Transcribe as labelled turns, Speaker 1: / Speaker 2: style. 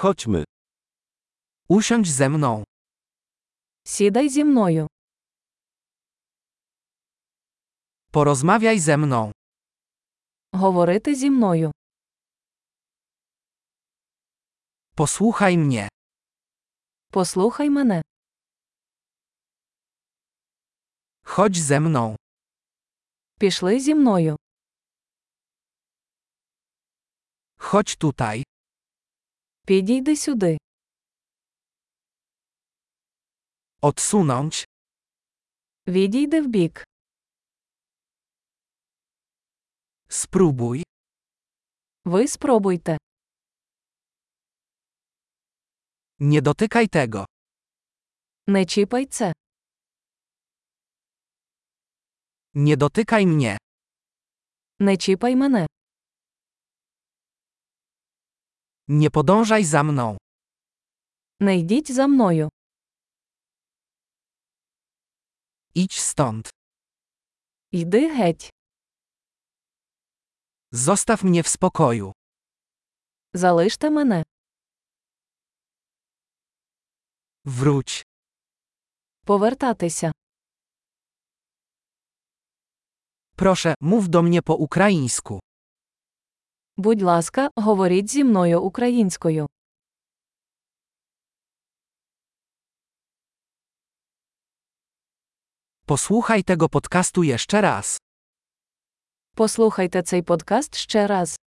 Speaker 1: Chodźmy. Usiądź ze mną.
Speaker 2: Сідай зі мною.
Speaker 1: Porozmawiaj ze mną.
Speaker 2: Говорити зі мною.
Speaker 1: Posłuchaj mnie.
Speaker 2: Послухай мене.
Speaker 1: Chodź ze mną.
Speaker 2: Пішли зі мною.
Speaker 1: Chodź tutaj.
Speaker 2: Підійди сюди.
Speaker 1: Odsunąć.
Speaker 2: Відійди вбік.
Speaker 1: Spróbuj.
Speaker 2: Ви спробуйте.
Speaker 1: Nie dotykaj tego.
Speaker 2: Не чіпай це.
Speaker 1: Nie dotykaj mnie.
Speaker 2: Не чіпай мене.
Speaker 1: Nie podążaj za mną.
Speaker 2: Не йдіть за мною.
Speaker 1: Idź stąd.
Speaker 2: Йди геть.
Speaker 1: Zostaw mnie w spokoju.
Speaker 2: Залиште мене.
Speaker 1: Wróć.
Speaker 2: Повертатися.
Speaker 1: Proszę, mów do mnie po ukraińsku.
Speaker 2: Будь ласка, говоріть зі мною українською.
Speaker 1: Posłuchaj tego podcastu jeszcze raz.
Speaker 2: Послухайте цей подкаст ще раз.